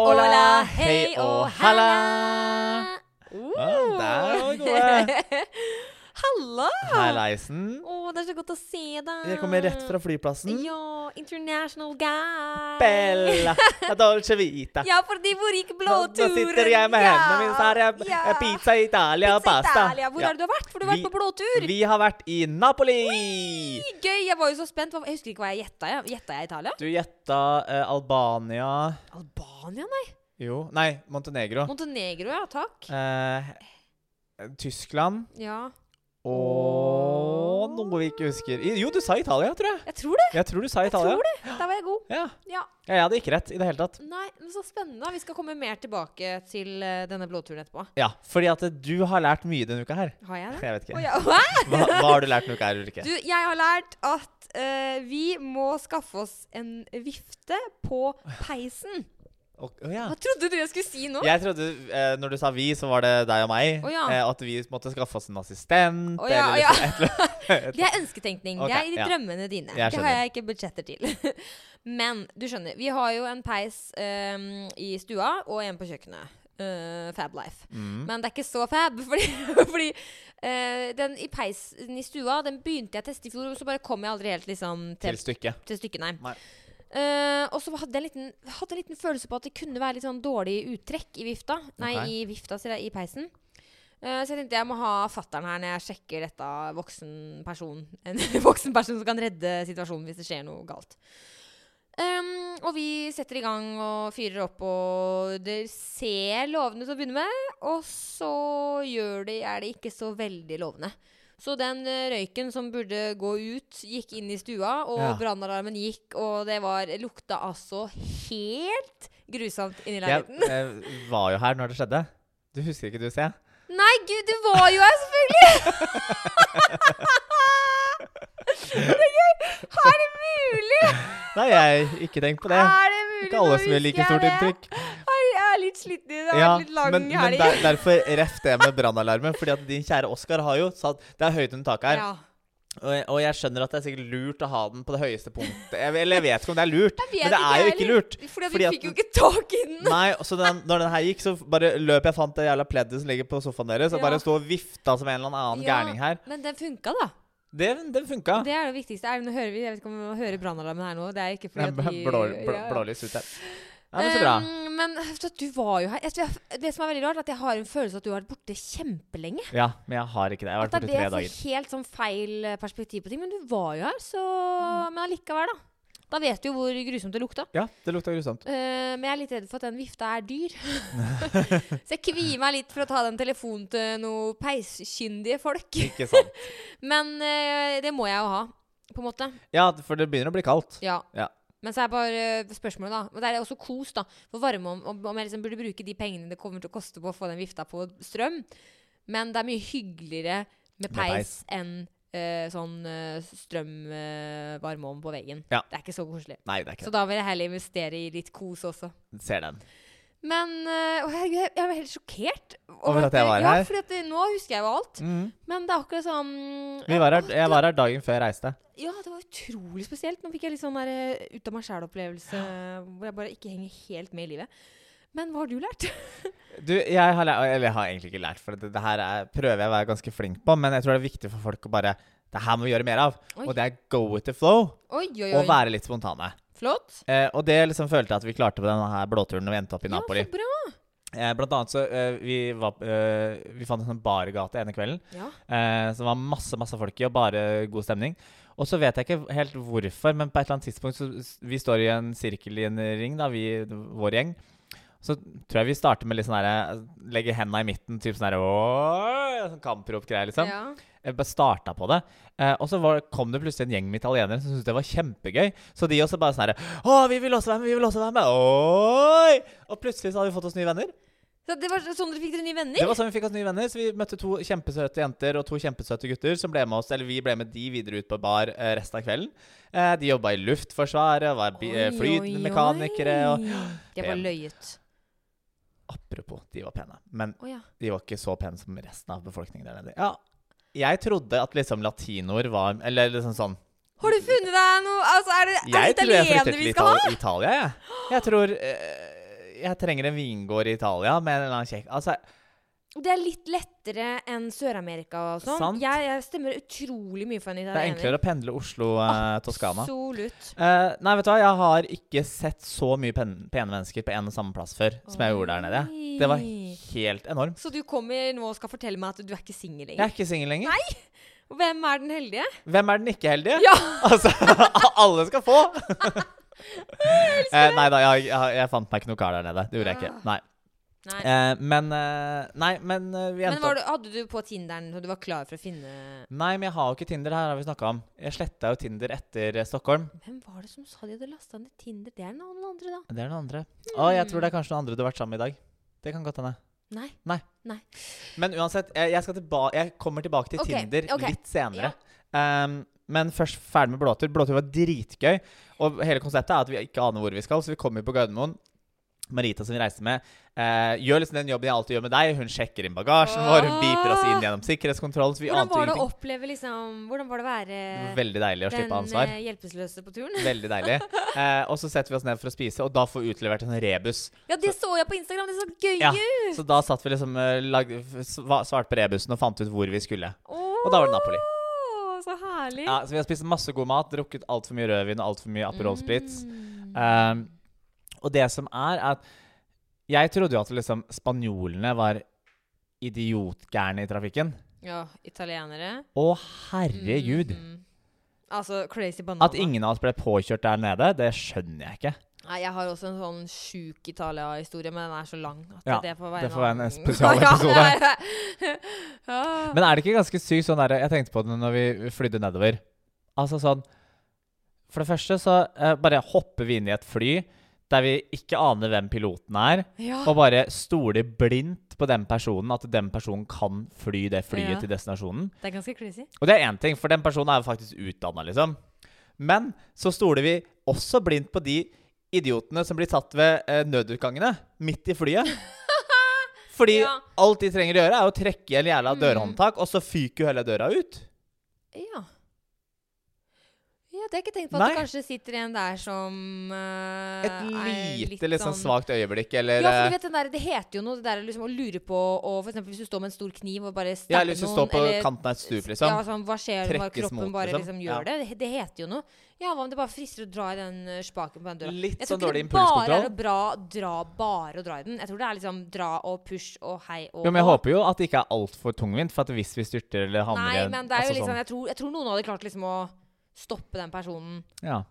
Olala, hei og halla! Ja, der var vi gode. Halla! Heileisen. Å, det er så godt å se deg. Jeg kommer rett fra flyplassen. Ja, international guy. Bella la dolce vita. Ja, fordi hvor gikk Nå blåturen? sitter jeg med Ja, hendene mine, så har jeg ja. eh, pizza i Italia og Pizza pasta. Italia. Hvor Ja. er det du har vært? For du har vært Vi- på blåtur. Vi har vært i Napoli! Gøy! Jeg var jo så spent. Hva- Jeg husker ikke hva jeg gjetta. jeg. Gjetta jeg Italia? Du gjetta eh, Albania Albania, nei. Jo, nei, Montenegro. Montenegro, ja. Takk. Eh, Tyskland Ja. og noe vi ikke husker. I- Jo, du sa Italia, tror jeg. Jeg tror det. Jeg tror du sa Jeg Italia. tror det. Der var jeg god. Ja. Ja. ja, jeg hadde ikke rett i det hele tatt. Nei, men så spennende. Vi skal komme mer tilbake til eh, denne blåturen etterpå. Ja, fordi at du har lært mye denne uka her. Har jeg det? Jeg vet Å, ikke. ja. Hva? Hva, hva har du lært denne uka her, Ulrikke? Du, jeg har lært at eh, vi må skaffe oss en vifte på peisen. Å, å ja. Hva trodde du jeg skulle si nå? Jeg trodde eh, når du sa vi, så var det deg og meg. Å ja. eh, at vi måtte skaffe oss en assistent. Å ja, å eller ja. liksom et eller annet. Det er ønsketenkning. Ok, det er i ja. drømmene dine. Jeg Det har jeg ikke budsjetter til. Men du skjønner, vi har jo en peis ehm, i stua og en på kjøkkenet. Eh, fab life. Mm. Men det er ikke så fab, fordi, fordi eh, den i peisen i stua Den begynte jeg å teste i fjor, og så bare kom jeg aldri helt liksom, til, Til stykket. til stykket. Nei. Nei. Eh, og så hadde jeg en liten, hadde en liten følelse på at det kunne være litt sånn dårlig uttrekk i vifta. Nei, Ok. i vifta, sier jeg. I peisen. Eh, så jeg tenkte jeg må ha fattern her når jeg sjekker dette av voksen person. En voksen person som kan redde situasjonen hvis det skjer noe galt. Ehm, og vi setter i gang og fyrer opp, og det ser lovende ut å begynne med. Og så gjør det, er det ikke så veldig lovende. Så den eh, røyken som burde gå ut, gikk inn i stua, og Ja. brannalarmen gikk, og det var, lukta altså helt grusomt inni Jeg leiligheten. eh, var jo her når det skjedde. Du husker ikke, du, ser jeg. Nei, gud, du var jo her, selvfølgelig! Det er gøy! Er det mulig? Nei, jeg ikke tenk på det. Er det mulig? Ikke alle Nå som gjør husker like jeg stort det. inntrykk. Ai, Jeg er litt sliten i dag. Ja, litt lang men, men helg. der, derfor ref det med brannalarmen. Fordi at din kjære Oskar har jo sagt det er høyt under taket her. ja. Og, jeg- og jeg skjønner at det er sikkert lurt å ha den på det høyeste punktet. Jeg, eller jeg vet ikke om det er lurt, vet men det ikke er jo jeg ikke heller. lurt. Fordi at Fordi vi at fikk jo ikke tak i den. Nei, og så den, når den her gikk, så bare løp jeg fant det jævla pleddet som ligger på sofaen deres, og Ja. bare sto og vifta som en eller annen Ja. gærning her. Men den funka, da. Det, den funka. Det er det viktigste. Er det, nå hører vi, jeg vet ikke om vi hører brannalarmen her nå. Det er ikke Det fordi er at blå, vi blå, blå, ja. blålys ute. Ja, men så bra. Um, men så du var jo her. Jeg, tror- det som er veldig rart, er at jeg har en følelse av at du har vært borte kjempelenge. Ja, men jeg har ikke det. Jeg har vært At det borte er det tre jeg får dager. helt sånn feil eh, perspektiv på ting. Men du var jo her, så Mm. Men allikevel, da. Da vet du jo hvor grusomt det lukta. Ja, det lukta grusomt. Eh, men jeg er litt redd for at den vifta er dyr. så jeg kvier meg litt for å ta den telefonen til noen peiskyndige folk. Ikke sant. Men eh, det må jeg jo ha, på en måte. Ja, for det begynner å bli kaldt. Ja. Ja. Men så er bare eh, spørsmålet, da. Og det er også kos, da. For varme om, om, om jeg liksom burde bruke de pengene det kommer til å koste på å få den vifta på strøm. Men det er mye hyggeligere med Med peis peis. enn eh, sånn eh, strøm eh, varme om på veggen. Ja. Det er ikke så koselig. Nei, det er ikke Så da vil jeg heller investere i litt kos også. det. Ser den. Men øh, å, herregud, jeg, jeg var helt sjokkert. Over at jeg var her? Ja, for at, øh, nå husker jeg jo alt. Men det er akkurat sånn Mhm. Vi var her, jeg var her dagen før jeg reiste. Ja, det var utrolig spesielt. Nå fikk jeg litt sånn der øh, ut av meg sjæl-opplevelse hvor jeg bare ikke henger helt med i livet. Men hva har du lært? Du, jeg har, lært, eller jeg har egentlig ikke lært, for det, det her er, prøver jeg å være ganske flink på, men jeg tror det er viktig for folk å bare Det her må vi gjøre mer av. Oi. Og det er go with the flow Oi, oi, oi. og være litt spontane. Flott. Eh, og det liksom følte jeg at vi klarte på denne her blåturen når vi endte opp i Napoli. Ja, så bra. Eh, blant annet så eh, vi, var, eh, vi fant en sånn bargate ene kvelden. Ja. Eh, så det var masse masse folk i, og bare god stemning. Og så vet jeg ikke helt hvorfor, men på et eller annet tidspunkt så s- Vi står i en sirkel i en ring, da, vi, vår gjeng. Så tror jeg vi starter med litt sånn herre Legge henda i midten, typ sånn herre «Åh!» Sånn kampropgreie, liksom. ja. Jeg bare starta på det. Eh, og så var, kom det plutselig en gjeng med italienere som syntes det var kjempegøy. Så de også bare sånn herre Å, vi vil også være med, vi vil også være med. Oi! Og plutselig så hadde vi fått oss nye venner. Så det var sånn dere fikk dere nye venner? Det var sånn vi fikk oss nye venner. Så vi møtte to kjempesøte jenter og to kjempesøte gutter som ble med oss, eller vi ble med de videre ut på bar eh, resten av kvelden. Eh, de jobba i Luftforsvaret, var bi- eh, Oi, oi, flymekanikere og oi. Det var Pen. løyet. Apropos, de var pene. Men Å ja. de var ikke så pene som resten av befolkningen der nede. Ja, jeg trodde at liksom latinoer var Eller liksom sånn Har du funnet deg noe Altså, er det, er det Jeg tror jeg italiener flytter til vi skal ha? Italia, Italia jeg. Jeg tror eh, jeg trenger en vingård i Italia med en eller annen kjekk Altså, Det er litt lettere enn Sør-Amerika og sånn. Sant. Jeg, jeg stemmer utrolig mye for en det er italiener. enklere å pendle eh, Oslo-Toskana. Absolutt. Eh, nei, vet du hva, jeg har ikke sett så mye pen pene mennesker på en og samme plass før som jeg gjorde der nede. Det var Oi. helt enormt. Så du kommer nå og skal fortelle meg at du er ikke singel Jeg lenger? er ikke singel lenger. Hvem er den heldige? Hvem er den ikke heldige? Ja! Altså, alle skal få! eh, nei da, jeg, jeg, jeg fant meg ikke noe kar der nede. Det gjorde jeg ikke. Nei. Nei. Eh, men eh, Nei, men eh, vi Men endte var opp du, hadde du på Tinderen så du var klar for å finne Nei, men jeg har jo ikke Tinder. Her har vi snakka om. Jeg sletta jo Tinder etter eh, Stockholm. Hvem var det som sa de hadde lasta ned Tinder? Det er noen andre, da. Det er noen andre. Hmm. Å, jeg tror det er kanskje noen andre du har vært sammen med i dag. Det kan godt hende. Nei. Men uansett, jeg, jeg, skal tilba jeg kommer tilbake til Ok, Tinder ok. litt senere. Ehm, men først ferdig med Blåtur. Blåtur var dritgøy. Og hele konseptet er at vi ikke aner hvor vi skal, så vi kommer på Gardermoen. Marita som vi reiste med, eh, gjør liksom den jobben jeg alltid gjør med deg. Hun sjekker inn bagasjen vår, hun beeper oss inn gjennom sikkerhetskontroll. Så vi ante Hvordan var det å ingenting. oppleve liksom Hvordan var det å være Veldig deilig å den slippe ansvar. eh, hjelpeløse på turen? Veldig deilig. Eh, og så setter vi oss ned for å spise, og da får vi utlevert en rebus. Ja, det så jeg på Instagram! Det så gøy Ja, ut! Så da satt vi liksom eh, lag, sva- svarte på rebusen og fant ut hvor vi skulle. Og da var det Napoli. Så herlig. Ja, så vi har spist masse god mat, drukket altfor mye rødvin og altfor mye Aperol Spritz. Mm. Um, og det som er, er at jeg trodde jo at liksom spanjolene var idiotgærne i trafikken. Ja, italienere. Å, herregud! Mhm. Altså crazy banana. At ingen av oss ble påkjørt der nede, det skjønner jeg ikke. Nei, jeg har også en sånn sjuk Italia-historie, men den er så lang at Ja, det får være det får være en annen- spesialepisode. Ja, ja, ja. Men er det ikke ganske sykt sånn der, Jeg tenkte på det når vi flydde nedover. Altså sånn For det første så eh, bare hopper vi inn i et fly der vi ikke aner hvem piloten er. ja. Og bare stole blindt på den personen, at den personen kan fly det flyet Ja. til destinasjonen. Det er ganske crazy. Og det er én ting, for den personen er jo faktisk utdanna, liksom. Men så stoler vi også blindt på de idiotene som blir tatt ved eh, nødutgangene midt i flyet. Fordi Ja. alt de trenger å gjøre, er å trekke i en jævla Mm. dørhåndtak, og så fyker jo hele døra ut. Ja. Ja, det har jeg ikke tenkt på. Nei. At det kanskje sitter en der som eh, Et er lite, litt sånn- liksom svakt øyeblikk, eller Ja, for eh, du vet den der, Det heter jo noe, det der liksom å lure på og for eksempel Hvis du står med en stor kniv og eh, bare Jeg stabber har lyst til å stå noen, på eller- kanten av et stup, liksom. Ja, sånn, hva skjer når Trekkes kroppen mot, bare liksom. liksom, Ja. gjør det? det? Det heter jo noe. Ja, hva om det bare frister å dra i den eh, spaken på den døra? Litt Jeg sånn tror dårlig ikke det bare impulskontroll. er å bra, dra, bare å dra i den. Jeg tror det er liksom dra og push og hei og Jo, men jeg hå. håper jo at det ikke er altfor tungvint, for at hvis vi styrter eller havner Nei, i en- men det er jo altså liksom, jeg tror, jeg tror noen hadde klart liksom å stoppe den personen. sånn, ja.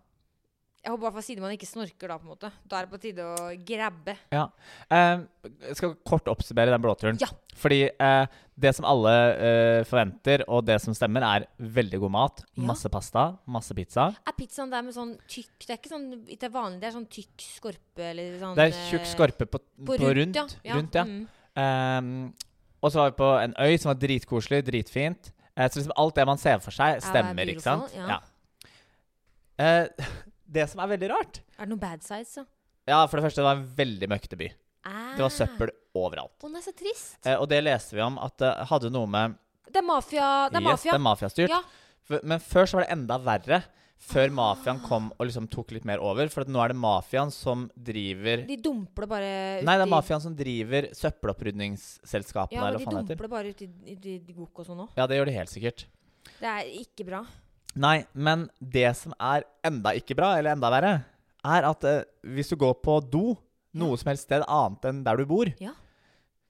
Jeg håper i hvert fall siden man ikke snorker da, på en måte. Da er det på tide å grabbe. Ja. Eh, jeg skal kort oppsummere den blåturen. Ja. Fordi eh, det som alle eh, forventer, og det som stemmer, er veldig god mat. Ja. Masse pasta, masse pizza. Er pizzaen der med sånn tykk Det er ikke sånn det er vanlig, det er sånn tykk skorpe eller sånn Det er eh, tjukk skorpe på, på, rundt. ja. Ja. Rundt, ja. Mm. Eh, og så var vi på en øy som var dritkoselig, dritfint. Eh, så liksom alt det man ser for seg, Ja, stemmer, det er ikke sant? beautiful, ja. Eh, det som er veldig rart Er det noen bad sides, da? Ja, for det første, det var en veldig møkkete by. Ah. Det var søppel overalt. Å nei, så trist. Eh, og det leste vi om at det hadde noe med Det er mafia. Det er Yes, mafia. det er mafiastyrt. Ja. For- Men før så var det enda verre. Før mafiaen kom og liksom tok litt mer over. For at nå er det mafiaen som driver De dumper det bare ut Nei, det er i- mafiaen som driver søppelopprydningsselskapene. Ja, eller hva men de faen det dumper heter. det bare ut i, i, i, i gok og sånn òg. Ja, det gjør de helt sikkert. Det er ikke bra. Nei, men det som er enda ikke bra, eller enda verre, er at eh, hvis du går på do noe som helst sted annet enn der du bor, Ja.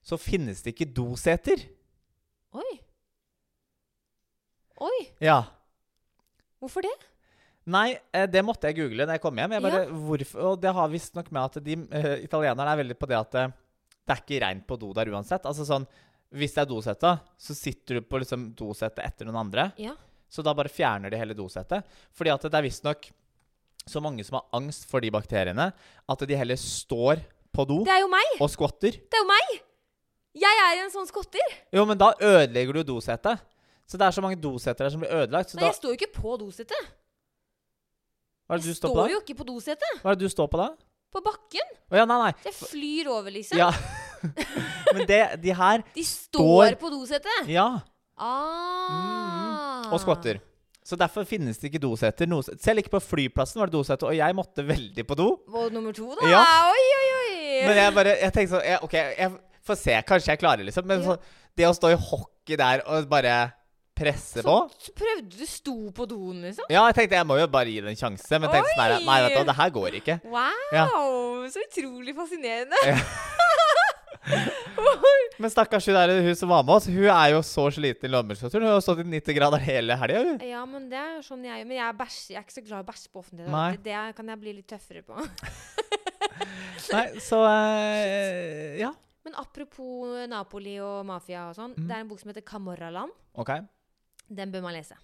så finnes det ikke doseter. Oi. Oi. Ja. Hvorfor det? Nei, eh, det måtte jeg google når jeg kom hjem. Jeg bare, Ja. hvorfor? Og det har visstnok med at de eh, italienerne er veldig på det at eh, det er ikke rent på do der uansett. Altså sånn, Hvis det er dosette, så sitter du på liksom dosettet etter noen andre. Ja. Så da bare fjerner de hele dosettet. Fordi at det er visstnok så mange som har angst for de bakteriene, at de heller står på do Det er jo meg! og skvatter. Det er jo meg! Jeg er en sånn skotter! Jo, men da ødelegger du dosettet. Så det er så mange dosetter der som blir ødelagt. Så Nei, da, jeg står jo ikke på dosetet. hva er det du Jeg står på står da? jo ikke på dosetet. Hva er det du står på da? På bakken. Å ja, nei, nei. Jeg flyr over, liksom. Ja. Men det, de her De Står- står på dosetet. Ja, Ah. Mm, og skvatter. Så derfor finnes det ikke dosetter. noe- Selv ikke på flyplassen var det dosetter, og jeg måtte veldig på do. Og nummer to, da? Ja. Oi, oi, oi! Men jeg bare jeg tenkte sånn jeg, OK, jeg får se. Kanskje jeg klarer, liksom. Men Ja. så, det å stå i hockey der og bare presse på Så prøvde du sto på doen, liksom? Ja, jeg tenkte jeg må jo bare gi det en sjanse, men tenkte sånn her, Oi! Nei, vet du, hva, det her går ikke. Wow! Ja. Så utrolig fascinerende. Ja. Men stakkars hun, der, hun som var med oss, hun er jo så sliten i lommemuskulaturen. Hun har jo stått i 90 grader hele helga, hun. Ja, men det er jo sånn jeg Men jeg er, bæsj, jeg er ikke så glad i å bæsje på offentlig. Nei. Det, det kan jeg bli litt tøffere på. Nei, så eh, Ja. Men apropos Napoli og mafia og sånn. Mm. Det er en bok som heter Camorraland. OK. Den bør man lese.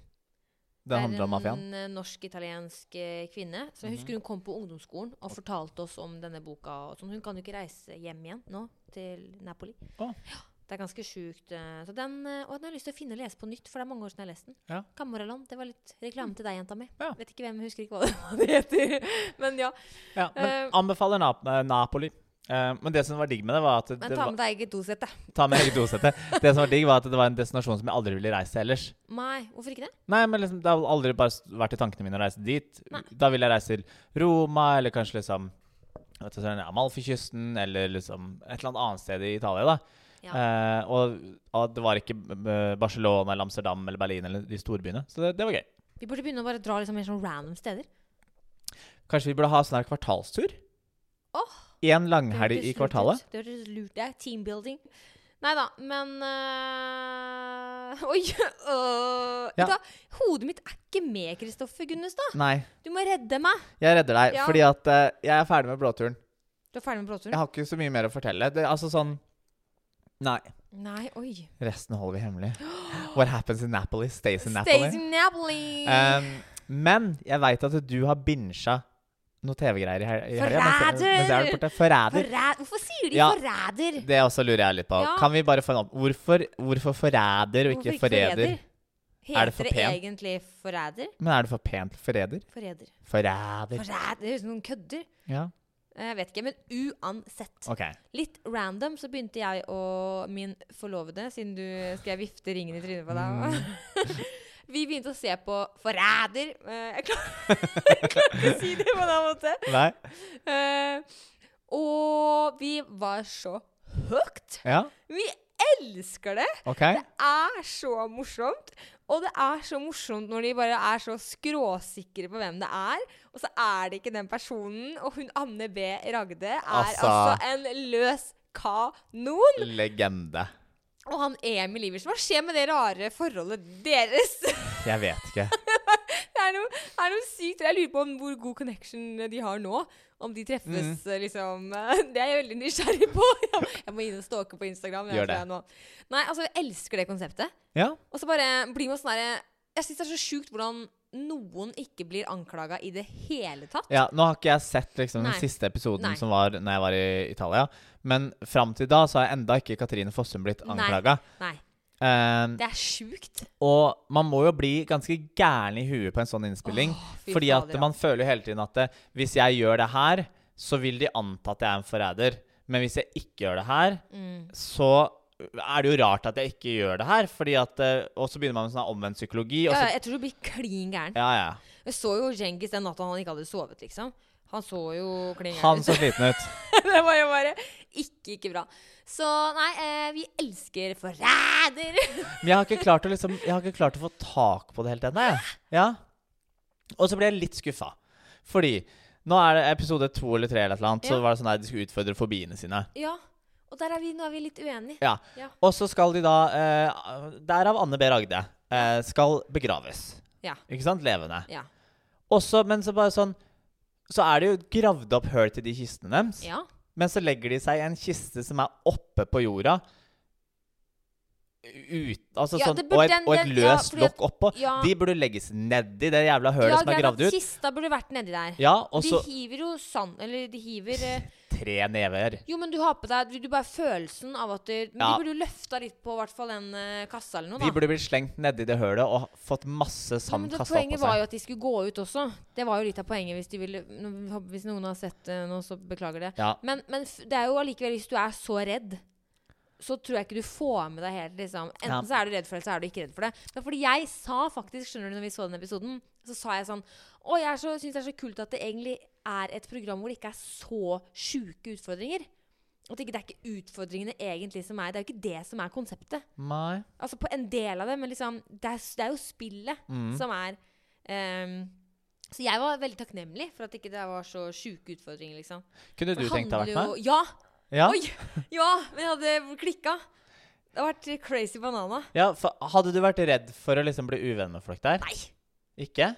Det handler om mafiaen. Mhm. Det er en eh, norsk-italiensk eh, kvinne. Så jeg husker hun kom på ungdomsskolen og fortalte oss om denne boka. Og sånn. Hun kan jo ikke reise hjem igjen nå, til Napoli. Å. Ja, det er ganske sjukt. eh, Så den, eh, og den har jeg lyst til å finne og lese på nytt, for det er mange år siden jeg har lest den. Ja. Camorraland. Det var litt reklame til deg, jenta mi. Ja. Vet ikke hvem, husker ikke hva det, hva det heter. Men ja. Ja, men Eh, anbefaler Nap eh, Napoli. Eh, men det som var digg med det, var at det Men ta var, med deg eget dosett, da. ta med eget dosette. Det som var digg, var at det var en destinasjon som jeg aldri ville reise til ellers. Nei, hvorfor ikke det? Nei, men liksom, det har aldri bare s- vært i tankene mine å reise dit. Nei. Da vil jeg reise til Roma, eller kanskje liksom vet du, sånn, Amalfikysten, eller liksom et eller annet annet sted i Italia, da. Ja. Eh, og, og det var ikke eh, Barcelona eller Amsterdam eller Berlin eller de storbyene. Så det, det var gøy. Vi burde begynne å bare dra liksom mer sånn random steder. Kanskje vi burde ha sånn her kvartalstur? Åh! Én Det langhelg hørtes i lurt ut. kvartalet. Det hørtes lurt ut. Det er teambuilding. Nei da, men øh, Oi! øh, Ja. vet du hva? hodet mitt er ikke med, Kristoffer Gunnestad. Nei, Du må redde meg. jeg redder deg, Ja. fordi at eh, jeg er ferdig med blåturen. Du er ferdig med blåturen? Jeg har ikke så mye mer å fortelle. Det, altså sånn Nei. Nei, oi. Resten holder vi hemmelig. What happens in Napoli stays in Napoli. Stays in Napoli! Um, men jeg veit at du har binsja noe TV-greier i hel- i helga. mens jeg- Forræder! mens jeg har vært borte. Forræder! Forræ- Hvorfor sier de Ja. forræder? Det også lurer jeg litt på. Ja. Kan vi bare få en opp... Hvorfor, hvorfor forræder og ikke, Hvorfor forræder? Heter Er det for det pent? egentlig forræder? Men er det for pent til forræder? Forræder. Forræder. Forræder? Det høres ut som noen kødder. Eh, Ja. Jeg vet ikke, men uansett. OK. Litt random så begynte jeg og min forlovede, siden du skal jeg vifte ringen i trynet på deg. Vi begynte å se på Forræder. Eh, Jeg klarer jeg klarer ikke å si det på den måten. Nei? Eh, Og vi var så hooked. Ja? Vi elsker det. OK? er så morsomt. Og det er så morsomt når de bare er så skråsikre på hvem det er. Og så er det ikke den personen. Og hun Anne B. Ragde er Altså. altså, en løs kanon. Legende. Og han Emil Iversen, hva skjer med det rare forholdet deres? Jeg vet ikke. det er noe, det er noe sykt. Jeg lurer på om hvor god connection de har nå. Om de treffes, Mm. eh, liksom. eh, Det er jeg veldig nysgjerrig på. Jeg må- Jeg må inn og stalke på Instagram. jeg Gjør tror jeg det. nå. Nei, altså, jeg elsker det konseptet. Ja? Og så bare blir man sånn der Jeg syns det er så sjukt hvordan noen ikke blir anklaga i det hele tatt. Ja, Nå har ikke jeg sett liksom, den Nei. siste episoden Nei. som var når jeg var i Italia, men fram til da så har enda ikke Katrine Fossum blitt Nei. anklaga. Nei, det er sjukt. og man må jo bli ganske gæren i huet på en sånn innspilling. Åh, fy fordi at fader, ja. man føler jo hele tiden at eh, hvis jeg gjør det her, så vil de anta at jeg er en forræder. Men hvis jeg ikke gjør det her, Mm. så er det jo rart at jeg ikke gjør det her. Fordi at, eh, og så begynner man med sånn her omvendt psykologi. Og Ja, så, jeg tror du blir klin gæren. ja, ja. Jeg så jo Djengis den natta han ikke hadde sovet, liksom. Han så jo klin Han gæren ut. så sliten ut. det var jo bare ikke, ikke bra. Så nei, eh, vi elsker forræder. Men jeg har ikke klart å, liksom, jeg har ikke klart å få tak på det helt ennå. jeg. Ja. Og så ble jeg litt skuffa. Fordi nå er det episode to eller tre, eller et eller annet, Ja. så var det sånn at de skulle utfordre fobiene sine. ja. Og der er vi, nå er vi litt uenige. Ja. Ja. Og så skal de da eh, Derav Anne B. Ragde. Eh, skal begraves. Ja. Ikke sant? Levende. Ja. Også, men så bare sånn Så er det jo gravd opp hull til de kistene deres. Ja. Men så legger de seg i en kiste som er oppe på jorda. Ut, altså Ja, sånn, det og burde et, den- og et den- ja, løst fordi at- lokk oppå. ja. De burde legges nedi det jævla hølet som er greit gravd at ut. Kista burde vært nedi der. Ja, og så De hiver jo sand Eller de hiver eh, tre never. Jo, men du har på deg Du, du bare følelsen av at du, Men Ja. du burde jo løfta litt på hvert fall den eh, kassa eller noe, De da. burde blitt slengt nedi det hølet og ha- fått masse Ja, sand men det kasta opp på Poenget var seg. jo at de skulle gå ut også. Det var jo litt av poenget hvis, de ville, nå- hvis noen har sett det nå, så beklager det. Ja. Men, men f- det er jo allikevel Hvis du er så redd, så tror jeg ikke du får med deg helt liksom. Enten Ja. så er du redd for det, eller så er du ikke redd for det. Men fordi jeg sa faktisk, skjønner du, når vi så den episoden, så sa jeg sånn Å, jeg syns det er så kult at det egentlig er et program hvor det ikke er så sjuke utfordringer. At det ikke, det er ikke utfordringene egentlig som er Det er jo ikke det som er konseptet. Nei. Altså på en del av det, men liksom Det er, s- det er jo spillet Mm. som er ehm, Så jeg var veldig takknemlig for at ikke det var så sjuke utfordringer, liksom. Kunne For du det tenkt deg å handler vært med? jo- Ja! Ja. Oi! Ja, men jeg hadde klikka. Det har vært crazy banana. ja for hadde du vært redd for å liksom bli uvenn med folk der? Nei, Ikke?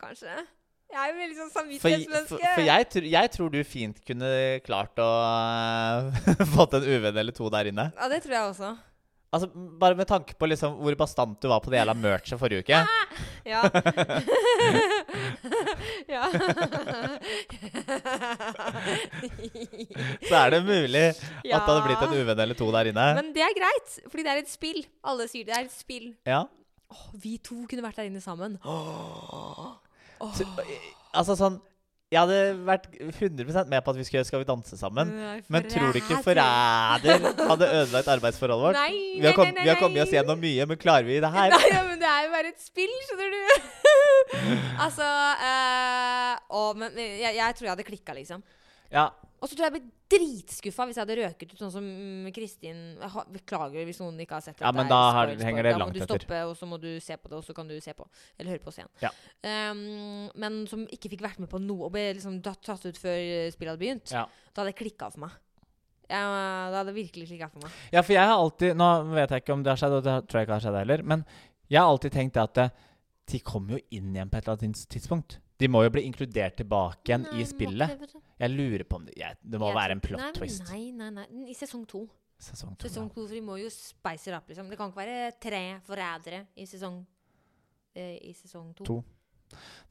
kanskje. Jeg er jo veldig sånn For, for, samvittighetsmenneske. for jeg, tr jeg tror du fint kunne klart å eh, fått en uvenn eller to der inne. Ja, det tror jeg også. Altså, Bare med tanke på liksom hvor bastant du var på det jævla merchet forrige uke. Ja. ja. Så er det mulig at det hadde blitt en uvenn eller to der inne. Men det er greit, fordi det er et spill. Alle sier det er et spill. Ja. Åh, vi to kunne vært der inne sammen. Så, altså sånn Jeg hadde vært 100 med på at vi skulle Skal vi danse sammen. Nei, Men tror du ikke Mm, forræder. forræder hadde ødelagt arbeidsforholdet vårt? Nei, Vi har, nei, kom, nei, vi har kommet nei. oss gjennom mye, men klarer vi det her? Nei, ja, men det er jo bare et spill, skjønner du. altså eh, Å, men jeg, jeg tror jeg hadde klikka, liksom. Ja, Og så tror jeg jeg ble dritskuffa hvis jeg hadde røket ut sånn som mm, Kristin jeg har- Beklager hvis noen ikke har sett det. Ja, men da har- henger det langt Da må etter. du stoppe, og så må du se på det, og så kan du se på. Eller høre på oss igjen. Ja. Um, men som ikke fikk vært med på noe, og ble liksom datt- tatt ut før eh, spillet hadde begynt. Ja. Da hadde det klikka for meg. Ja, da hadde det virkelig klikka for meg. ja, for jeg har alltid Nå vet jeg ikke om det har skjedd, og det tror jeg ikke har skjedd heller, men jeg har alltid tenkt det at eh, de kommer jo inn igjen på et eller annet tids- tidspunkt. De må jo bli inkludert tilbake igjen Nei, i må spillet. ikke det, vet du. Jeg lurer på om det jeg, Det må Jeg være tror- en plot twist. Nei, nei, nei, nei. I sesong to. Sesong to. Sesong ja. to, for de må jo speise det opp, liksom. Det kan ikke være tre forrædere i sesong eh, i sesong to. To.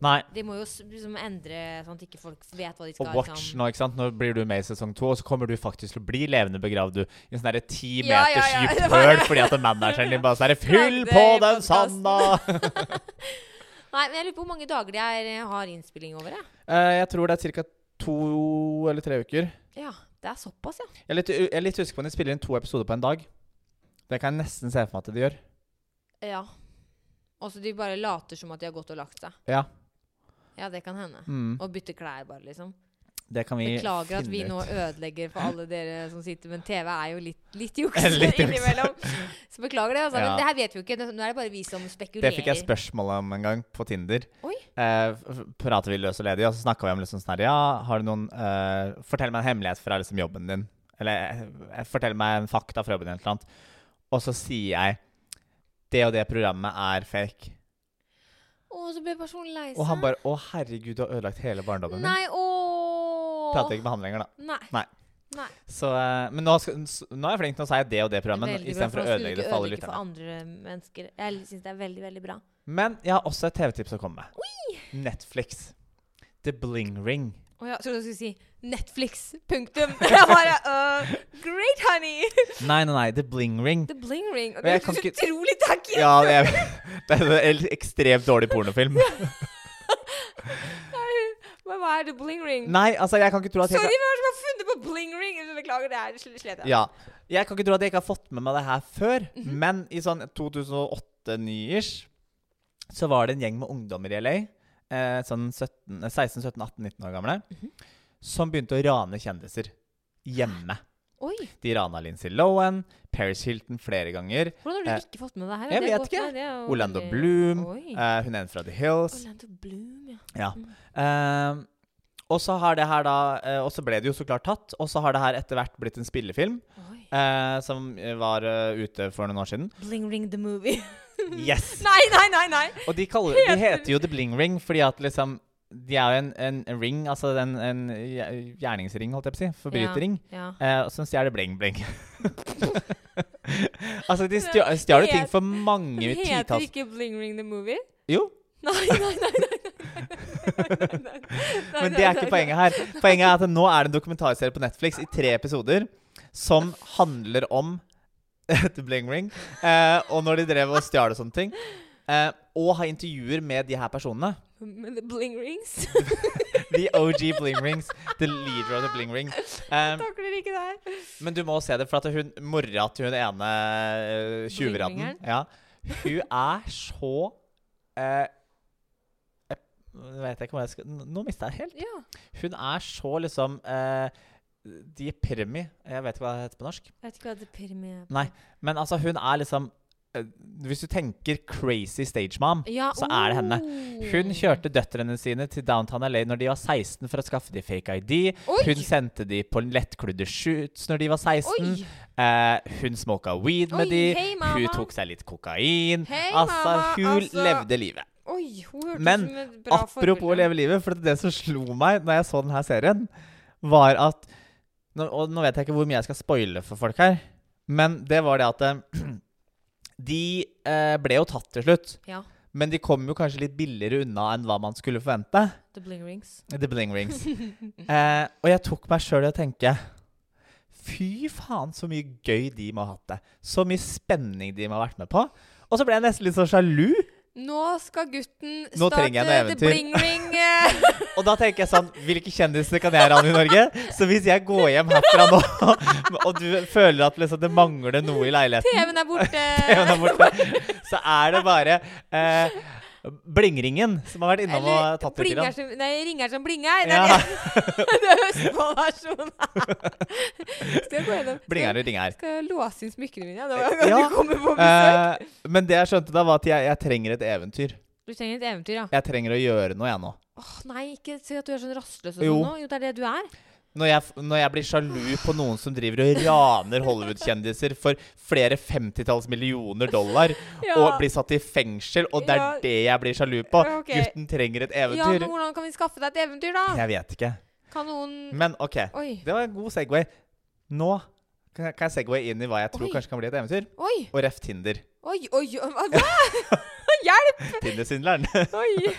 Nei. De må jo s- liksom endre sånn at ikke folk vet hva de skal Og Watch liksom. nå, ikke sant. Nå blir du med i sesong to, og så kommer du faktisk til å bli levende begravd, du. I en sånn derre ti Ja, meters ja, ja, det dypt var høl det. fordi at manageren din bare sånn herre Fyll Klagde på i den podcasten. sanda! Nei, men jeg lurer på hvor mange dager de er, eh, har innspilling over, jeg. Eh, jeg tror det er ca. to eller tre uker. Ja, det er såpass, ja. Jeg er litt, jeg er litt usikker på om de spiller inn to episoder på en dag. Det kan jeg nesten se for meg at de gjør. Ja. Og så de bare later som at de har gått og lagt seg. Ja. Ja, det kan hende. Mm. Og bytte klær, bare, liksom. Det kan vi Beklager at finne vi nå ut. ødelegger for alle dere som sitter, men TV er jo litt, litt juks Litt juks. innimellom. Så beklager det, altså. Ja. Men det her vet vi jo ikke. Nå er det bare vi som Det spekulerer. fikk jeg spørsmål om en gang på Tinder. Oi. Eh, f- f- prater vi løs og ledig, og så snakka vi om liksom sånn her Ja, har du noen eh, Fortell meg en hemmelighet fra liksom jobben din. Eller eh, fortell meg en fakta fra jobben din, eller noe annet. Og så sier jeg det og det programmet er fake. Å, så ble personen lei seg. Og han bare Å, herregud, du har ødelagt hele barndommen min. Nei, ååå. Prater ikke med han lenger, da. Nei. Nei. Nei. Så, eh, men nå, skal, s- nå er jeg flink til å si det og det programmet Veldig bra, istedenfor å nå skal du ødelegge ikke det for alle ødelegge lytterne. andre mennesker. Jeg syns det er veldig, veldig bra. Men jeg har også et TV-tips å komme med. Netflix. The Bling Ring. Å ja, trodde du skulle si Netflix. Punktum. Jeg bare øh, Great, honey! Nei, nei, nei. The Bling Ring. The bling ring. Og Men det jeg hørtes kan ikke- utrolig tacky ut! Ja, det er, det er en ekstremt dårlig pornofilm. Men hva er the bling ring? Nei, altså, jeg kan ikke tro at jeg Sorry, ikke hvem er det som har funnet på bling ring? Jeg Beklager, det er sl- slet jeg. ja. Jeg kan ikke tro at jeg ikke har fått med meg det her før, Mhm. men i sånn 2008-9-ish så var det en gjeng med ungdommer i LA, eh, sånn 17, eh, 16, 17, 18, 19 år gamle, Mhm. som begynte å rane kjendiser hjemme. Oi, De rana Lindsay Lohan, Paris Hilton flere ganger. hvordan har Eh, du ikke fått med deg her? jeg Det er vet godt, ikke. nei, det er jo Orlando veldig- Bloom. Oi. Eh, hun er en fra The Hills. Orlando Bloom, ja. Ja. Mm. Ehm, og så har det her da eh, Og så ble det jo så klart tatt. Og så har det her etter hvert blitt en spillefilm Oi. eh, som eh, var eh, ute for noen år siden. Bling ring the movie. Yes! nei, nei, nei, nei! Og de, kaller, de heter jo The Bling Ring fordi at liksom De er jo en, en ring, altså en, en gjer- gjerningsring, holdt jeg på å si. Forbryterring. Ja. eh, som stjeler bling-bling. altså, de stjal stjal jo ting for Den mange heter titalls ikke Bling Ring the Movie? Jo, Nei, nei, nei. nei, nei, nei, nei, nei Men det er ikke poenget her. Poenget er at nå er det en dokumentarserie på Netflix i tre episoder som handler om The Bling Ring, eh, og når de drev og stjal og sånne ting. Eh, og har intervjuer med de her personene. Men the Bling Rings The OG Bling Rings. The leader of the Bling Ring. Eh, takler ikke det her. men du må se det, for at hun mora til hun ene eh, tjuvradden Bling-ringeren? ja, Hun er så eh, jeg vet ikke hvor jeg skal Nå mista jeg helt. Ja. Hun er så liksom eh, De Pirmi Jeg vet ikke hva det heter på norsk. Jeg vet ikke hva det pirmi er. Nei. Men altså, hun er liksom eh, Hvis du tenker crazy stage mom Ja, Så er det henne. oh. Hun kjørte døtrene sine til downtown LA når de var 16 for å skaffe de fake ID. Oi! Hun sendte de på lettkludde shoots når de var 16. Oi! Eh, hun smoka weed med Oi, de. hei, mamma. hun tok seg litt kokain. Hei, altså, mamma, hun altså. levde livet. Oi, hun hørtes Men, som et bra Apropos å forbilde. leve livet, for det som slo meg når jeg så denne serien, var at nå, Og nå vet jeg ikke hvor mye jeg skal spoile for folk her, men det var det at eh, de eh, ble jo tatt til slutt. Ja. Men de kom jo kanskje litt billigere unna enn hva man skulle forvente. The Bling Rings. The Bling Rings. eh, og jeg tok meg sjøl i å tenke Fy faen, så mye gøy de må ha hatt det. Så mye spenning de må ha vært med på. Og så ble jeg nesten litt så sjalu. Nå skal gutten Nå starte trenger jeg noe The eventyr. Bling Ring. eh. Og da tenker jeg sånn Hvilke kjendiser kan jeg rane i Norge? Så hvis jeg går hjem herfra nå, og du føler at liksom det mangler noe i leiligheten TV-en er borte. TV-en er borte, Så er det bare eh, Blingringen som har vært innom og tatt litt. Blinger grann. som, nei, ringer som blinger. Det er Ja, det- det er Østfold-versjonen. Skal jeg gå gjennom? Skal jeg- blinger og ringer. Skal jeg låse inn smykkene mine? Ja, det var Eh, Ja, du kommer på besøk. Eh, men det jeg skjønte da, var at jeg, jeg trenger et eventyr. Du trenger et eventyr, ja. Jeg trenger å gjøre noe, jeg nå. Åh, nei, ikke si at du er sånn rastløs og Jo. sånn nå. Jo, det er det du er. Når jeg, f- når jeg blir sjalu på noen som driver og raner Hollywood-kjendiser for flere 50-talls millioner dollar, Ja. og blir satt i fengsel, og det er Ja. det jeg blir sjalu på. Ja, ok. Gutten trenger et Ja, eventyr. men hvordan kan vi skaffe deg et eventyr, da? Jeg vet ikke. Kan noen Men OK, Oi. det var en god Segway. Nå kan jeg- kan jeg Segway inn i hva jeg tror Oi. kanskje kan bli et eventyr, Oi, og ref Tinder. oi, oi. oi, Hva? Hjelp! Tinder-svindleren. Oi.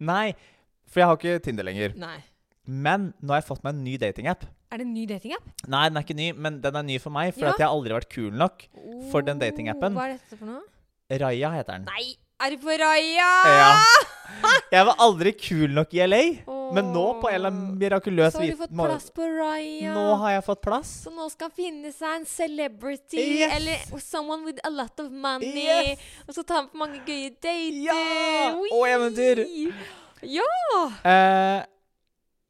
Nei, for jeg har ikke Tinder lenger. Nei. Men nå har jeg fått meg en ny datingapp. Er det en ny datingapp? Nei, den er ikke ny, men den er ny for meg, for Ja. at jeg har aldri vært kul nok. for den Oh, datingappen. Hva er dette for noe? Raja heter den. Nei, er det på Raja? Jeg var aldri kul nok i LA, men nå på en eller annen Åh. mirakuløs Så har du fått viten må- plass på Raja. Nå har jeg fått plass. Så nå skal han finne seg en celebrity Yes. eller someone with a lot of money. Yes. Og så ta han på mange gøye dater. Ja, Oi. og eventyr. Ja! Eh,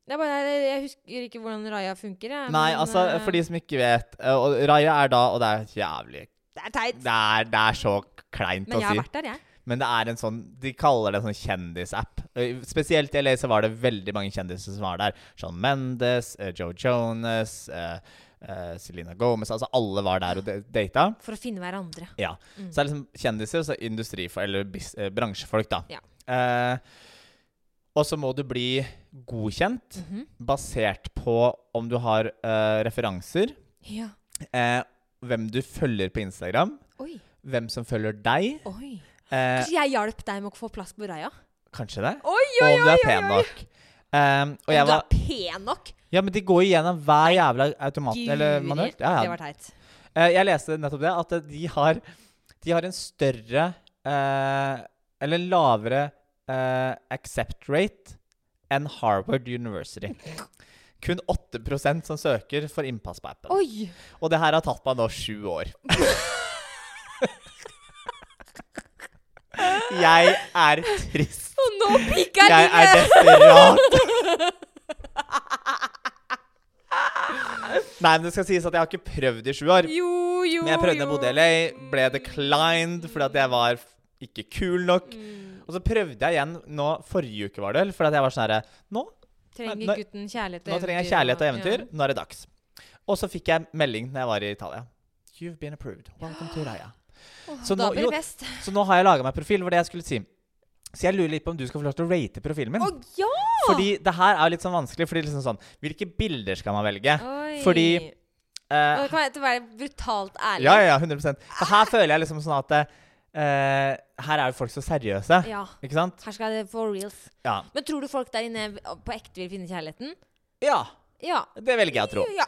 Det er bare, jeg, jeg husker ikke hvordan Raja funker. Jeg, nei, men, altså, eh, for de som ikke vet eh, og Raja er da Og det er jævlig Det er teit. Det er, det er så kleint Men å jeg har si. vært der, jeg. Men det er en sånn De kaller det en sånn kjendisapp. Eh, Spesielt i LA så var det veldig mange kjendiser som var der. Sean Mendes, eh, Joe Jonas, eh, eh, Selena Gomez Altså alle var der og de- data. For å finne hverandre. Ja. Mm. Så det er liksom kjendiser, så industrifolk, eller bis, eh, bransjefolk, da. Ja. Eh, og så må du bli godkjent Mhm. basert på om du har eh, referanser, Ja. eh, hvem du følger på Instagram, Oi. hvem som følger deg. Oi. Eh, Kanskje jeg hjalp deg med å få plass på Raja? kanskje det? Oi, Og oi, om du oi, er oi, pen oi. nok. Um, og jeg Om du var, er pen nok? ja, men de går jo gjennom hver jævla automat eller Guri, manuelt. Ja, Det ja. var teit. Eh, jeg leste nettopp det, at eh, de har, de har en større eh, Eller en lavere eh, accept rate enn Harvard University. Kun 8 som søker for innpass på appen. Oi! Og det her har tatt meg nå sju år. jeg er trist. Og nå piker Jeg er livet! desperat. Nei, men det skal sies at jeg har ikke prøvd i sju år. Jo, jo, Men jeg prøvde jo. å bodde i LA, ble declined fordi at jeg var f- ikke kul nok. Mm. Og så prøvde jeg igjen nå forrige uke, var det vel, fordi at jeg var sånn herre nå, Trenger Nå- gutten kjærlighet og nå trenger jeg eventyr, kjærlighet og eventyr. Nå er det dags. Og så fikk jeg melding når jeg var i Italia. You've been approved. Welcome to Raya. Ja. Åh, Så da nå- blir jo- det best. Så nå har jeg laga meg profil, var det jeg skulle si. Så jeg lurer litt på om du skal få lov til å rate profilen min. Å ja! Fordi det her er jo litt sånn vanskelig. Fordi liksom sånn, Hvilke bilder skal man velge? Oi. fordi, Nå Eh, kan jeg til å Ah! være brutalt ærlig. ja, ja, ja, 100 Så her føler jeg liksom sånn at eh, Her er jo folk så seriøse. Ja, Ikke sant? Her skal det for reals. Ja. Men tror du folk der inne på ekte vil finne kjærligheten? ja. Ja. Det velger jeg å tro. ja.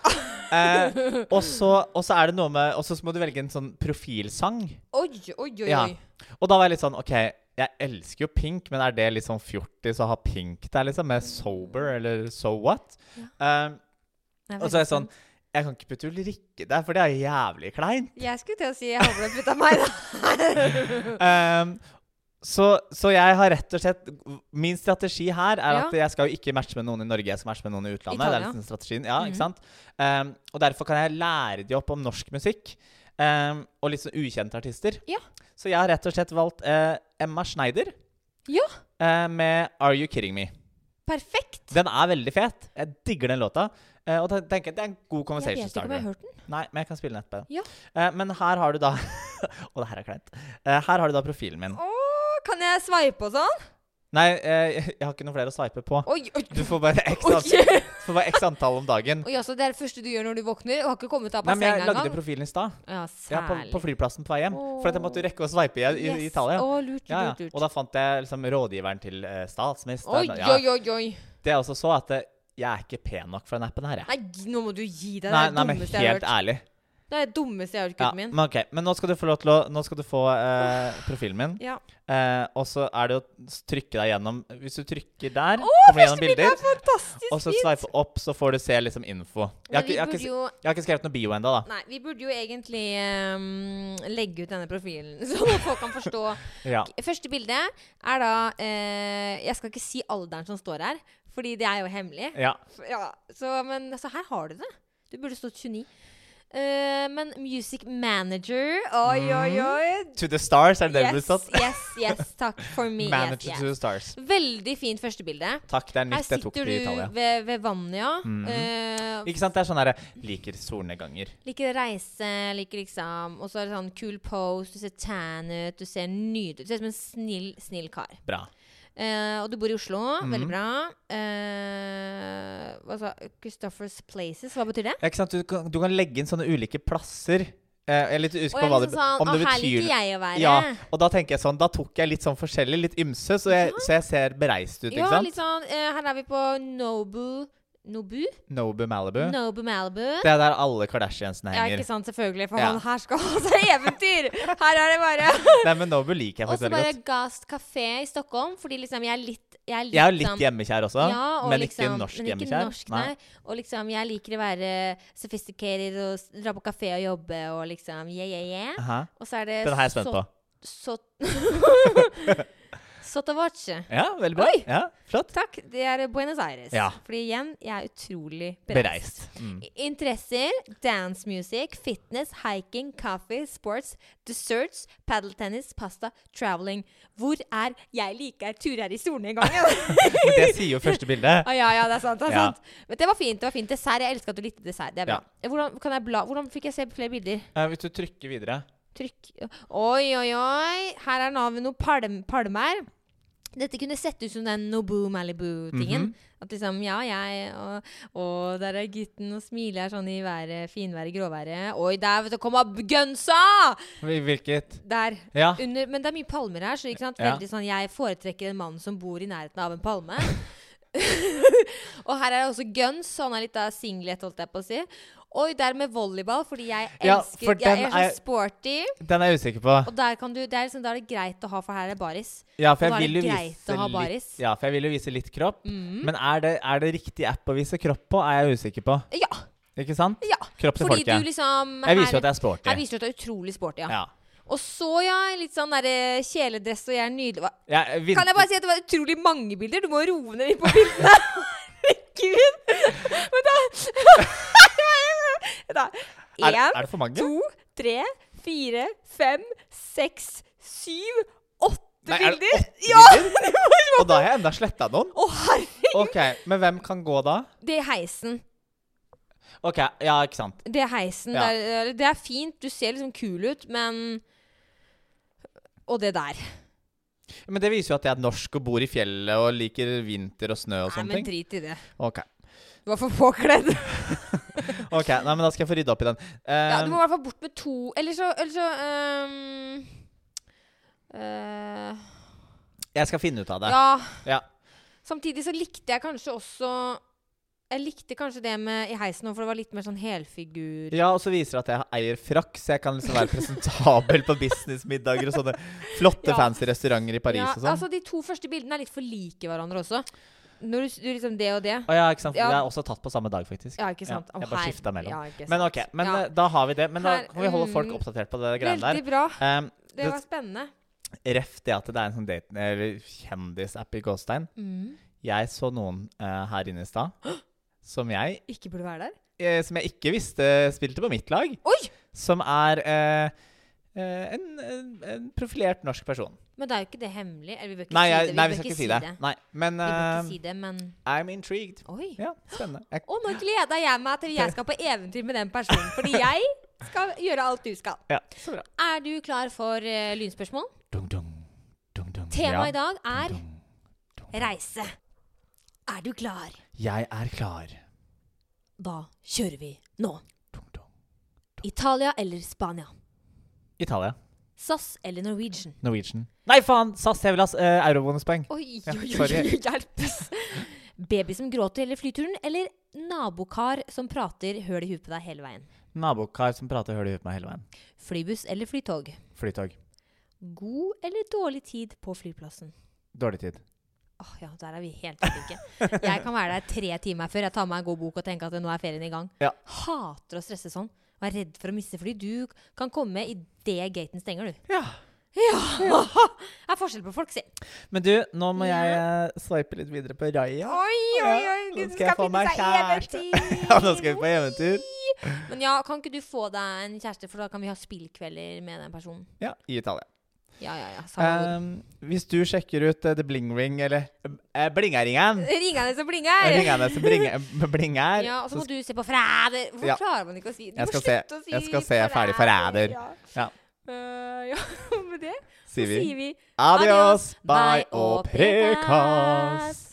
Eh, og så og så er det noe med Og så må du velge en sånn profilsang. Oi, oi, oi. Ja. oi. Og da var jeg litt sånn OK, jeg elsker jo pink, men er det litt sånn fjortis å ha pink der, liksom? Med sober eller so what? Eh, Jeg og så er jeg sånn Jeg kan ikke putte Ulrikke der, for det er jævlig kleint. Jeg skulle til å si jeg håper du har putta meg, da. Ehm, Så, så jeg har rett og slett Min strategi her er Ja. at jeg skal jo ikke matche med noen i Norge, jeg skal matche med noen i utlandet. Det Italia. er liksom strategien, ja, Mhm. ikke sant? Ehm, og derfor kan jeg lære de opp om norsk musikk. ehm, og litt sånn ukjente artister. Ja. Så jeg har rett og slett valgt eh, Emma Schneider Ja. eh, med 'Are You Kidding Me'. Perfekt! Den er veldig fet. Jeg digger den låta. Eh, og da tenker jeg Det er en god Jeg conversation vet ikke om jeg starter. har hørt den. Nei, men jeg kan spille den etterpå. Ja. Eh, men her har du da Og det her er kleint. Eh, her har du da profilen min. Å, kan jeg sveipe og sånn? Nei, eh, jeg har ikke noen flere å sveipe på. Oi, oi, Du får bare x, oi. an- du får bare x antall om dagen. Oi, altså, det er det første du gjør når du våkner? Og har ikke kommet deg opp Nei, av men jeg senga lagde engang? profilen i stad. Ja, Ja, på, særlig. på flyplassen på vei hjem. For at jeg måtte Åh. rekke å sveipe i, i, i Italia. Å, lurt, lurt, Ja, ja. lurt. Og da fant jeg liksom rådgiveren til eh, Oi, statsministeren. oi, Ja. oi, oi. Det jeg også så, at eh, jeg er ikke pen nok for den appen her, jeg. Nei, g- nå må du gi deg. Det Nei, er det nei, men dummeste jeg har helt hørt. ærlig. Det er det dummeste jeg har hørt, Ja, gutten min. men, ok, men nå skal du få lov til å Nå skal du få eh, profilen min. Ja. Eh, og så er det å s- trykke deg gjennom Hvis du trykker der, Å, kommer du første gjennom bildet er bilder. fantastisk Og så fint! sveipe opp, så får du se liksom info. Jeg har, Men ikke, vi jeg, har burde ikke, jo jeg har ikke skrevet noe bio ennå, da. Nei, vi burde jo egentlig ehm, legge ut denne profilen, sånn at folk kan forstå. Ja. Første bilde er da eh, Jeg skal ikke si alderen som står her, fordi det er jo hemmelig. ja. F- Ja, så, men altså, her har du det. Du burde stått 29. Eh, men Music Manager Oi, oi, oi. To the stars, Mm. er det det det ble Yes, satt? yes, yes. Takk for me. Yes, Manager to yes. the stars. Veldig fint første bilde. Takk, det er Her nytt jeg tok sitter til Italia. du ved, ved vannet, ja. Mhm. Eh, Ikke sant, det er sånn herre Liker solnedganger. Liker reise, liker liksom Og så er det sånn cool pose, du ser tan ut, du ser nydelig ut. Du ser ut som en snill, snill kar. Bra. Eh, og du bor i Oslo, Mhm. veldig bra. Eh, hva sa Christophers Places, hva betyr det? Ja, Ikke sant, du kan, du kan legge inn sånne ulike plasser. Eh, jeg er litt usikker Og jeg på hva er det liksom sånn, Om «Å, det her liker betyr jeg å være. Ja, og da tenker jeg sånn Da tok jeg litt sånn forskjellig, litt ymse, så jeg, så jeg ser bereist ut, ikke Ja, sant? litt sånn eh, Her er vi på Nobu Nobu? Nobu Malibu. Nobu Malibu. Det er der alle Kardashiansene Ja, henger. ikke sant, selvfølgelig. For Ja. han her skal ha seg eventyr! Her er det bare Nei, men Nobu liker jeg Og så faktisk veldig bare godt. Gast kafé i Stockholm, fordi liksom jeg er litt Jeg er litt, Jeg er jo sånn- litt hjemmekjær også, Ja, og men liksom, ikke norsk men ikke hjemmekjær. norsk, nei. Og liksom, jeg liker å være sophisticated og s- dra på kafé og jobbe og liksom yeah, yeah, yeah. Hæ? Og så er det Den er jeg spent på. Sot, Sotavace. Ja, veldig bra. Oi! Ja, Flott. Takk, det er Buenos Aires. Ja. Fordi igjen, jeg er utrolig Bereist. bereist. Mm. Interesser dance music, fitness, hiking, coffee, sports, desserts, paddle tennis, pasta, traveling. Hvor er jeg liker turer i solnedgangen? Men det sier jo første bilde. Å ja, ja, det er sant. Det er Ja. sant. Men det var fint. det var fint Dessert. Jeg elsker at du likte dessert. Det er bra. Hvordan, kan jeg bla? Hvordan fikk jeg se flere bilder? Eh, hvis du trykker videre Trykk Oi, oi, oi. Her er Nav noen palm, palmer. Dette kunne sett ut som den Nobu Malibu-tingen. Mhm. At liksom, ja, jeg og, og der er gutten og smiler her sånn i været, finværet, gråværet. Oi, der, vet du, kom av gunsa! Hvil- Hvilket Der. Ja. Under, men det er mye palmer her, så ikke sant? Ah. Ja. Veldig sånn, jeg foretrekker en mann som bor i nærheten av en palme. og her er det også guns, så han er litt av singlet, holdt jeg på å si. Oi, der med volleyball, fordi jeg Ja, elsker for Jeg den er så er- sporty. Den er jeg usikker på. Og der kan du, det er, liksom, da er det greit å ha, for her er det baris. Ja, for Nå er jeg vil det jo greit vise å ha litt, baris. Mhm. ja, for jeg vil jo vise litt kropp. Men er det, er det riktig app å vise kropp på, er jeg usikker på. Ja, Ikke sant? ja. Kropp til Fordi folket. du liksom Jeg viser jo her- at jeg er sporty. Her viser du at du er utrolig sporty, ja. Ja. Og så, ja, litt sånn der, eh, kjeledress, og jeg er nydelig. Hva? Jeg, vin- Kan jeg bare si at det var utrolig mange bilder? Du må roe ned litt på bildene. Herregud! Vent, da. er, Vent, da. er det for mange? Én, to, tre, fire, fem, seks, syv, åtte Nei, er det bilder. åtte Ja! bilder? det var så- Og da har jeg enda sletta noen. Å, herregud! Ok, Men hvem kan gå da? Det er heisen. Ok, Ja, ikke sant. Det er heisen. Ja. Det, er, det er fint. Du ser liksom kul ut, men Og det der. Men det viser jo at jeg er norsk og bor i fjellet og liker vinter og snø og Nei, sånne men ting. drit i det. Ok, Du var for påkledd. ok, nei, men Da skal jeg få rydda opp i den. Ja, du Ehm, må i hvert fall bort med to Eller så, eller så øhm, øh, Eh, Jeg skal finne ut av det. Ja. Ja. Samtidig så likte jeg kanskje også Jeg likte kanskje det med i heisen òg, for det var litt mer sånn helfigur. Ja, og så viser det at jeg eier frakk, så jeg kan liksom være presentabel på businessmiddager og sånne flotte, Ja. fancy restauranter i Paris Ja, og sånn. altså De to første bildene er litt for like hverandre også. Når du, s- du liksom det og det. Å ja, ikke sant. Ja. Det er også tatt på samme dag, faktisk. Ja, ikke sant. Ja, Å, jeg bare her- skifta mellom. Ja, ikke sant. Men ok, men Ja. eh, da har vi det. Men da Her- kan vi holde folk mm, oppdatert på det greiene Veldig der. bra. Ehm, Det var spennende. Ref det at det er en sånn date- eller kjendisapp i gåstein. Mm. Jeg så noen eh, her inne i stad som jeg, Ikke burde være der? eh, som jeg ikke visste spilte på mitt lag. Oi! Som er eh, eh, en, en, en profilert norsk person. Men det er jo ikke det hemmelig. Eller vi bør ikke Nei, si det. jeg, nei, bør vi skal ikke si det. Nei, men Vi bør eh, ikke si det, men I'm intrigued. Oi. Ja, spennende. Jeg, Og nå gleder jeg meg til jeg skal på eventyr med den personen. Fordi jeg skal gjøre alt du skal. ja, så bra. Er du klar for eh, lynspørsmål? Dung, dung, dung, dung. Ja. Temaet i dag er Dung, dung. reise. Er du klar? Jeg er klar. Da kjører vi nå. Dung, dung. Italia eller Spania? Italia. SAS eller Norwegian? Norwegian. Nei, faen! SAS, jeg vil ha eh, eurobonuspoeng. Oi, Ja, oi, oi, sorry. oi, hjelpes! Baby som gråter eller flyturen, eller nabokar som prater høl i huet på deg hele veien? Nabokar som prater, hører du på meg hele veien. Flybuss eller flytog? Flytog. God eller dårlig tid på flyplassen? Dårlig tid. Åh, ja, der er vi helt like. Jeg kan være der tre timer før jeg tar meg en god bok og tenker at nå er ferien i gang. Ja. Hater å stresse sånn. Og er redd for å miste fly. Du kan komme idet gaten stenger, du. Ja. Ja! Det er forskjell på folk, si. Men du, nå må jeg eh, swipe litt videre på Raja. Oi, oi, oi! Ja, nå skal Gud, du jeg skal få finne meg seg kjæreste. eventyr! Ja, nå skal vi på eventyr. Men ja, kan ikke du få deg en kjæreste, for da kan vi ha spillkvelder med den personen. Ja, i Italia. Ja, ja, ja. Samme Um, hvis du sjekker ut eh, The Bling Ring, eller uh, Blingeringen ord. Ringene som blinger! Ringene som bringer, bringer Ja, og så så må du se på Forræder! Hvorfor Ja. klarer man ikke å si det? Du Jeg må skal se- slutte å si jeg skal se ferdig Forræder. Ja. Ja. Eh, ja, med det sier vi sier vi adios, Adios, bye og prekas.